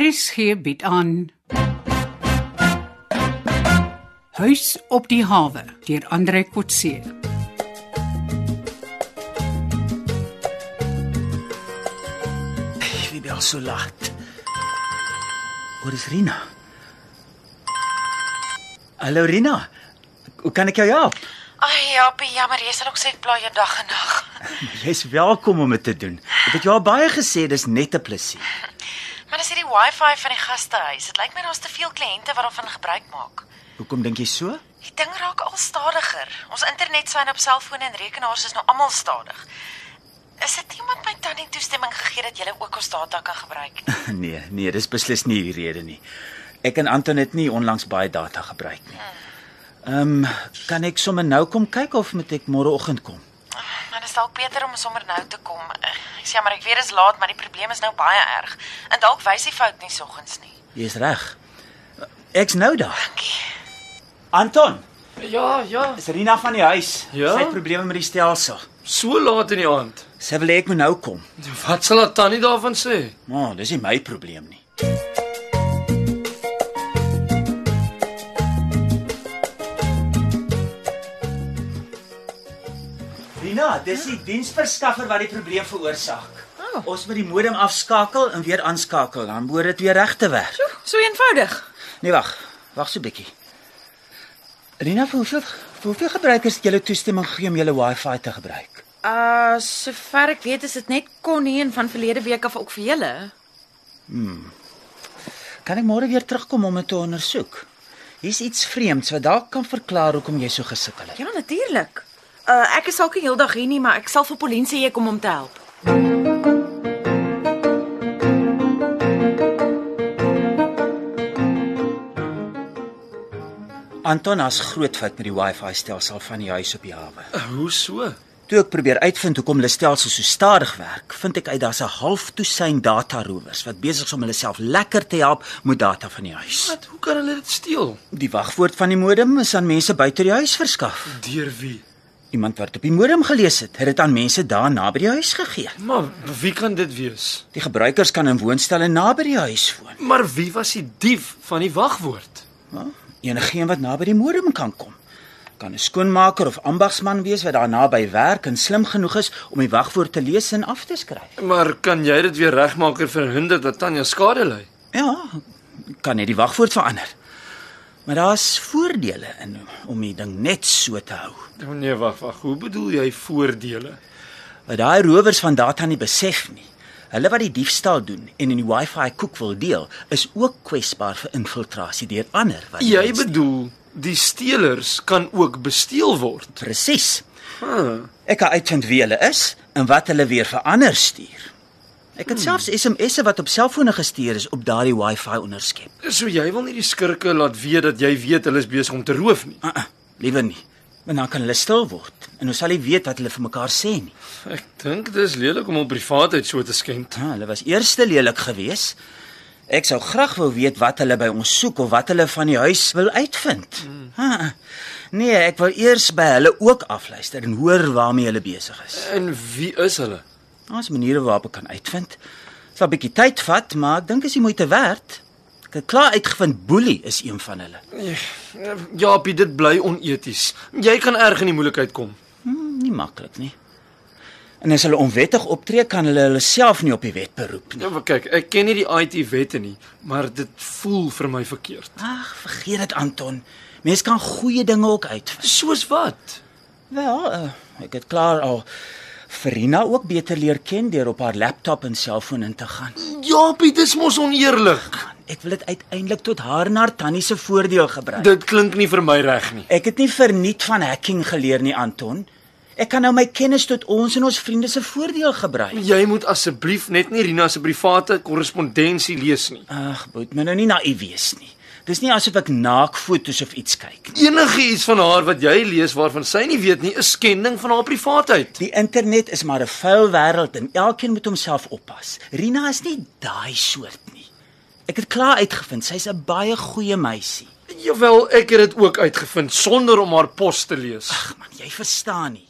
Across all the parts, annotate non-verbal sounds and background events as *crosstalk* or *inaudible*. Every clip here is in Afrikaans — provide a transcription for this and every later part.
RSG bied aan Huis op die hawe deur Andre Kotse. Ek weet al so laat. Waar is Rina? Hallo Rina. Hoe kan ek jou help? Ai, Japie, jammer, jy sal ook sê ek bly jou dag en nag. Jy's welkom om dit te doen. Ek het jou al baie gesê dis net 'n plesier. Maar dis hierdie Wi-Fi van die gastehuis. Dit lyk my daar's te veel kliënte wat daarvan gebruik maak. Hoekom dink jy so? *laughs* Die ding raak al stadiger. Ons internetsyn op selfone en rekenaars is nou almal stadig. Is dit iemand my tannie toestemming gegee dat jy ook ons data kan gebruik nie? Nee, nee, dis beslis nie die rede nie. Ek en Anton het nie onlangs baie data gebruik nie. Ehm, um, kan ek sommer nou kom kyk of moet ek môreoggend kom? Dan is dalk beter om sommer nou te kom. Ek sê maar ek weet dit is laat, maar die probleem is nou baie erg. En dalk wys die fout nie soggens nie. Jy's reg. Ek's nou daar. Dankie. Anton, Ja, ja, is Rina van die huis. Ja? Sy het probleme met die stelsel. so laat in die aand. Sy wil hê ek moet nou kom. Wat sal haar tannie daarvan sê? Maar oh, dis nie my probleem nie. Rina, dis die diensverskaffer wat die probleem veroorsaak. Oh. Ons moet die modem afskakel en weer aanskakel, dan behoort dit weer reg te werk. So eenvoudig. Nee, wag. Wag so 'n bietjie. Rina, vir hoeveel vir hoeveel gebruikers het jy toestemming gegee om jou Wi-Fi te gebruik? Uh, sover ek weet is dit net Connie en van verlede week af ook vir julle. Kan ek môre weer terugkom om dit te ondersoek? Hier's iets vreemds wat dalk kan verklaar hoekom jy so gesukkel het. Ja, natuurlik. Uh, ek is dalk nie heeldag hier nie, maar ek sal vir Pauline sê jy kom om te help. Anton has groot fout met die Wi-Fi stelsel van die huis op die hawe. Eh, Hoe so? Toe ek probeer uitvind hoekom hulle stelsel so stadig werk, vind ek uit daar's 'n half dosyn data rowers wat besig is om hulle self lekker te help met data van die huis. Wat, hoe kan hulle dit steel? Die wagwoord van die modem is aan mense buite die huis verskaf. Deur wie? Iemand wat op die modem gelees het, het dit aan mense daar naby die huis gegee. Maar wie kan dit wees? Die gebruikers kan in woonstelle naby die huis woon. Maar wie was die dief van die wagwoord? Ja, Enigeen wat naby die modem kan kom. Kan 'n skoonmaker of ambagsman wees wat daar naby werk en slim genoeg is om die wagwoord te lees en af te skryf. Maar kan jy dit weer regmaak en verhinder dat Tanya skade ly? Ja, kan net die wagwoord verander. Maar daar's voordele in om die ding net so te hou. Oh nee, wag, wag. Hoe bedoel jy voordele? Wat daai rowers van data nie besef nie. Hulle wat die diefstal doen en in die Wi-Fi koek wil deel, is ook kwesbaar vir infiltrasie deur ander wat Jy bedoel die steelers kan ook besteel word. presies. Huh. Ek kan uitvind wie hulle is en wat hulle weer vir ander stuur. Ek het hmm. selfs SMS'e wat op selfone gestuur is op daardie Wi-Fi onderskep. So jy wil nie die skurke laat weet dat jy weet hulle is besig om te roof nie. Uh -uh, Liewe nie. Want dan kan hulle stil word en ons sal nie weet wat hulle vir mekaar sê nie. Ek dink dis lelik om hul privaatheid so te skend. Ha, hulle was eers te lelik geweest. Ek sou graag wou weet wat hulle by ons soek of wat hulle van die huis wil uitvind. Ha, nee, ek wil eers by hulle ook afluister en hoor waarmee hulle besig is. En wie is hulle? Daar's maniere waarop ek kan uitvind. Dit sal 'n bietjie tyd vat, maar ek dink is die moeite werd. Ek het klaar uitgevind Boelie is een van hulle. Jaapie, dit bly oneties. Jy kan erg in die moeilikheid kom. Hm, nie maklik nie. En as hulle onwettig optree, kan hulle hulle self nie op die wet beroep nie. Ja, maar kyk, ek ken nie die IT wette nie, maar dit voel vir my verkeerd. Ag, vergeet dit Anton. Mense kan goeie dinge ook uitvind. Soos wat? Wel, uh, ek het klaar al Verina ook beter leer ken deur op haar laptop en selfoon in te gaan. Jaapie, dis mos oneerlik. Ek wil dit uiteindelik tot haar en haar tannie se voordeel gebruik. Dit klink nie vir my reg nie. Ek het nie verniet van hacking geleer nie, Anton. Ek kan nou my kennis tot ons en ons vriende se voordeel gebruik. Jy moet asseblief net nie Rina se private korrespondensie lees nie. Ag, moet my nou nie naïef wees nie. Dis nie asof ek naakfoto's of iets kyk nie. Enige iets van haar wat jy lees waarvan sy nie weet nie, is skending van haar privaatheid. Die internet is maar 'n vuil wêreld en elkeen moet homself oppas. Rina is nie daai soort nie. Ek het klaar uitgevind sy's 'n baie goeie meisie. Jawel, ek het dit ook uitgevind sonder om haar pos te lees. Ag man, jy verstaan nie.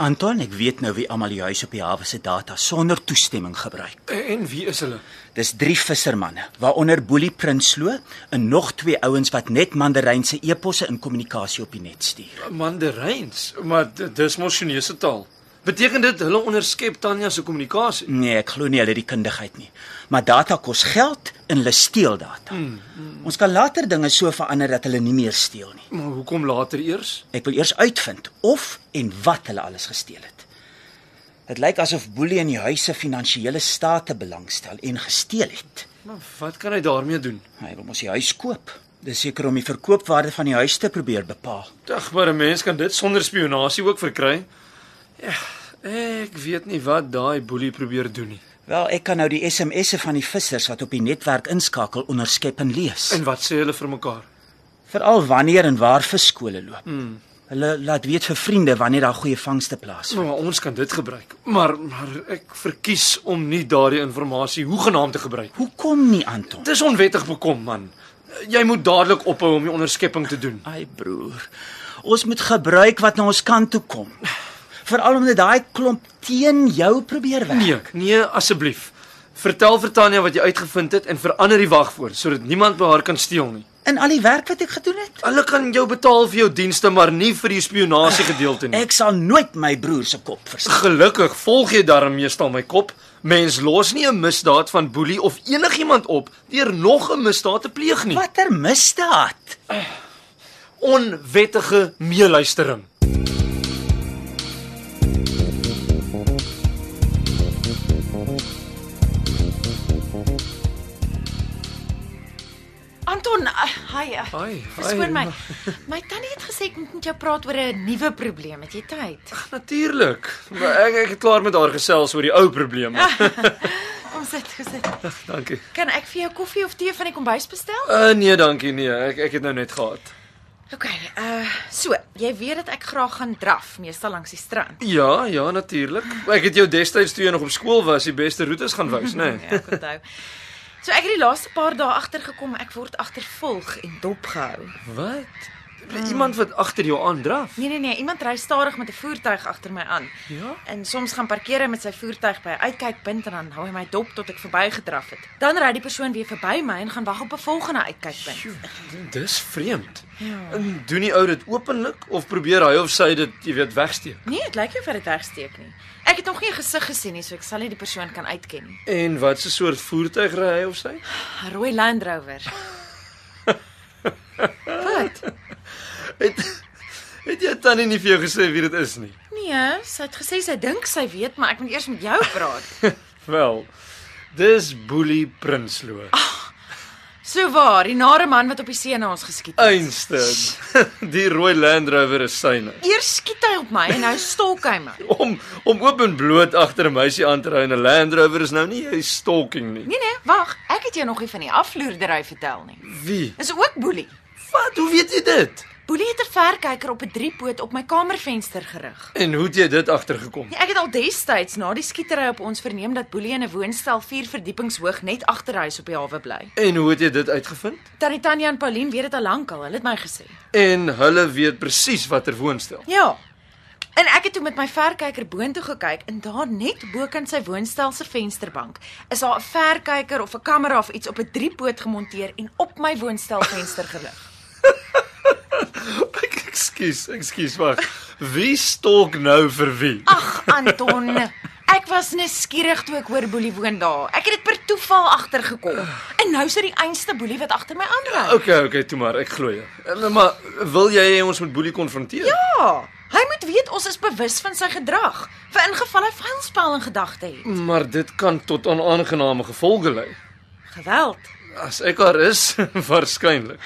Anton, ek weet nou wie almal die huis op die hawe se data sonder toestemming gebruik. En wie is hulle? Dis drie vissermanne, waaronder Boelie Prinsloo en nog twee ouens wat net Mandaryn se eposse in kommunikasie op die net stuur. Mandaryns, maar d- dis mos Chinese taal. Beteken dit hulle onderskep Tanya se kommunikasie? Nee, ek glo nie hulle het die kundigheid nie. Maar data kos geld en hulle steel data. Mm, mm. Ons kan later dinge so verander dat hulle nie meer steel nie. Maar hoekom later eers? Ek wil eers uitvind of en wat hulle alles gesteel het. Dit lyk asof Boelie in die huis se finansiële state belangstel en gesteel het. Maar wat kan hy daarmee doen? Hy wil mos die huis koop. Dis seker om die verkoopwaarde van die huis te probeer bepaal. Dag, maar 'n mens kan dit sonder spionasie ook verkry. Ja, ek weet nie wat daai boelie probeer doen nie. Wel, ek kan nou die SMS'e van die vissers wat op die netwerk inskakel onderskep en lees. En wat sê hulle vir mekaar? Veral wanneer en waar visskole loop. Mm. Hulle laat weet vir vriende wanneer daar goeie vangste plaasvind. Nou, maar ons kan dit gebruik. Maar maar ek verkies om nie daardie inligting hoegenaamd te gebruik. Hoekom nie, Anton? Dis onwettig bekom, man. Jy moet dadelik ophou om die onderskepping te doen. Ai broer. Ons moet gebruik wat na ons kant toe kom. Veral omdat daai klomp teen jou probeer werk. Nee, nee asseblief. Vertel vir Tanya wat jy uitgevind het en verander die wagwoord sodat niemand by haar kan steel nie. In al die werk wat ek gedoen het, Hulle kan jou betaal vir jou dienste, maar nie vir die spionasie gedeelte nie. ek sal nooit my broer se kop verstaan. Gelukkig volg jy daarmee meestal my kop. Mens los nie 'n misdaad van boelie of enigiemand op deur nog 'n misdaad te pleeg nie. Watter misdaad? Onwettige meeluistering. Anton, ah, hi. ah, Hi, hi. Verskoon my. My tannie het gesê ek moet met jou praat oor 'n nuwe probleem. Het jy *laughs* tyd? Natuurlik. Maar ek ek het klaar met haar gesels oor die ou probleme. Kom sit, kom sit. Dankie. Kan ek vir jou koffie of tee van die kombuis bestel? Uh nee, dankie nee. Ek ek het nou net gehad. OK, uh so, jy weet dat ek graag gaan draf, meestal langs die strand. Ja, ja, natuurlik. Ek het jou destyds toe jy nog op skool was, die beste roetes gaan wys, nee. *laughs* né? Ja, ek onthou. So ek het die laaste paar dae agtergekom ek word agtervolg en dopgehou. Wat? Iemand wat agter jou aandraf. Nee nee nee, iemand ry stadig met 'n voertuig agter my aan. Ja? En soms gaan parkeer hy met sy voertuig by 'n uitkykpunt en dan hou hy my dop tot ek verbygedraf het. Dan ry die persoon weer verby my en gaan wag op 'n volgende uitkykpunt. Sjoe, Dis vreemd. Ja. En doen die ou dit openlik of probeer hy of sy dit, jy weet, wegsteek? Nee, dit lyk nie vir dit wegsteek nie. Ek het nog nie 'n gesig gesien nie, so ek sal nie die persoon kan uitken nie. En wat 'n soort voertuig ry hy of sy? 'n Rooi Land Rover. Wat? Het *laughs* het jy tannie nie vir jou gesê wie dit is nie? Nee, sy het gesê sy dink sy weet, maar ek moet eers met jou praat. Wel, dis Boelie Prinsloo. So waar, die nare man wat op die see na ons geskiet het. Ehm. Einstein. *laughs* Die rooi Land Rover is syne. Eers skiet hy op my en nou stalk hy my. *laughs* Om om oop en bloot agter 'n meisie aan te ry in 'n Land Rover is nou nie jy stalking nie. Nee nee, wag, ek het jou nog nie van die afloerdery vertel nie. Wie? Is ook boelie. Wat? Hoe weet jy dit? Boelie het 'n verkyker op 'n driepoot op my kamervenster gerig. En hoe het jy dit agtergekom? Nee, ek het al destyds na die skietery op ons verneem dat Boelie in 'n woonstel 4 verdiepings hoog net agter huis op die hawe bly. En hoe het jy dit uitgevind? Tannie Tanya en Pauline weet dit al lank al, hulle het my gesê. En hulle weet presies watter woonstel. *laughs* Ja. En ek het toe met my verkyker boontoe gekyk en daar net bokant sy woonstel se vensterbank is daar 'n verkyker of 'n kamera of iets op 'n driepoot gemonteer en op my woonstelvenster gerig. Ek ekskuus, ekskuus wag. Wie stalk nou vir wie? Ag Anton, ek was nuuskierig toe ek hoor Boelie woon daar. Ek het dit per toeval agtergekom. En nou sit die einste Boelie wat agter my aanry. Ah, Okay, okay, toe maar, ek glo jou. Eh, Maar wil jy hê ons moet Boelie konfronteer? Ja, hy moet weet ons is bewus van sy gedrag, vir ingeval hy vuilspel in gedagte het. Maar dit kan tot onaangename gevolge lei. Geweld. As ek haar is, *laughs* waarskynlik.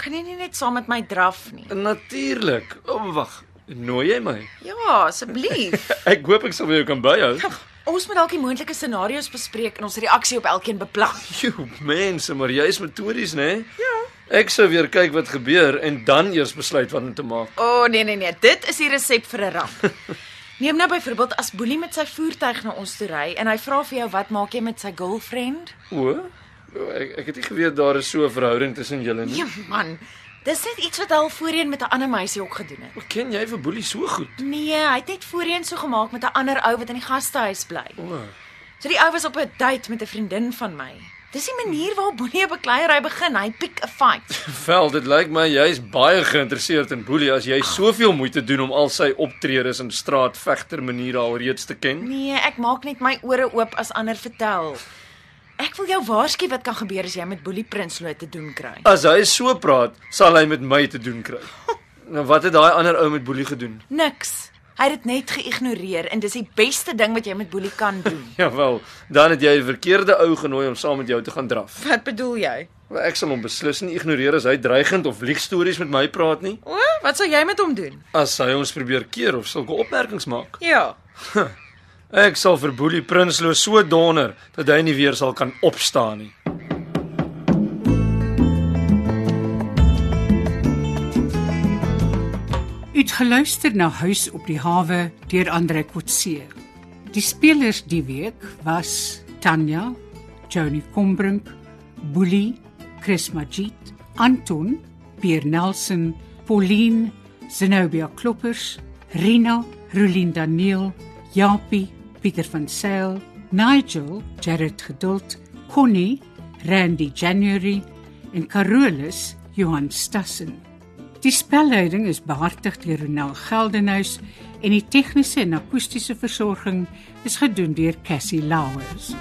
Kan jy nie net saam met my draf nie? Natuurlik. Oh, wag, nooi jy my? Ja, *laughs* asseblief. Ek hoop ek sal vir jou kan byhou. *laughs* Ons moet dalk die moontlike scenario's bespreek en ons reaksie op elkeen beplan. Jo, mense, maar jy is metodies, né? Ja. Ek sou weer kyk wat gebeur en dan eers besluit wat om te maak. O oh, nee nee nee, dit is die resep vir 'n ramp. *laughs* Neem nou byvoorbeeld as Boelie met sy voertuig na ons toe ry en hy vra vir jou wat maak jy met sy girlfriend? O? Ek ek het nie geweet daar is so 'n verhouding tussen julle nie. Nee man, Dis net iets wat hy al voorheen met 'n ander meisie ook gedoen het. Hoe ken jy vir Boelie so goed? Nee, hy het net voorheen so gemaak met 'n ander ou wat in die gastehuis bly. O, oh, So die ou was op 'n date met 'n vriendin van my. Dis die manier waarop Boelie 'n bekleierery begin. Hy piek 'n fight. vel, dit lyk my jy's baie geïnteresseerd in Boelie as jy soveel moeite doen om al sy optredes en straatvegter maniere alreeds te ken. Nee, ek maak net my ore oop as ander vertel. Ek wil jou waarsku wat kan gebeur as jy met Boelie Prinsloo te doen kry. As hy so praat, sal hy met my te doen kry. Nou wat het daai ander ou met Boelie gedoen? *laughs* Niks. Hy het dit net geïgnoreer en dis die beste ding wat jy met Boelie kan doen. Ja wel, dan het jy die verkeerde ou genooi om saam met jou te gaan *laughs* draf. Wat bedoel jy? Maar ek sal hom beslis nie ignoreer as hy dreigend of liegstories met my praat nie. O, wat sal jy met hom doen? As hy ons probeer keer of sulke opmerkings maak. Ja. Ek sal vir Boelie Prinsloo so donder dat hy nie weer sal kan opstaan nie. U het geluister na Huis op die hawe deur Andre Kotse. Die spelers die week was Tanya, Johnny Combrink, Bully, Chris Magid, Anton, Pierre Nelson, Pauline, Zenobia Kloppers, Rina, Rulien Daniel, Japie, Pieter van Sail, Nigel, Jared Geduld, Connie, Randy January en Carolus Johan Stassen. Die spelleiding is behartig deur Ronel Geldenhuys en die tegniese en akoestiese versorging is gedoen deur Cassie Lauers.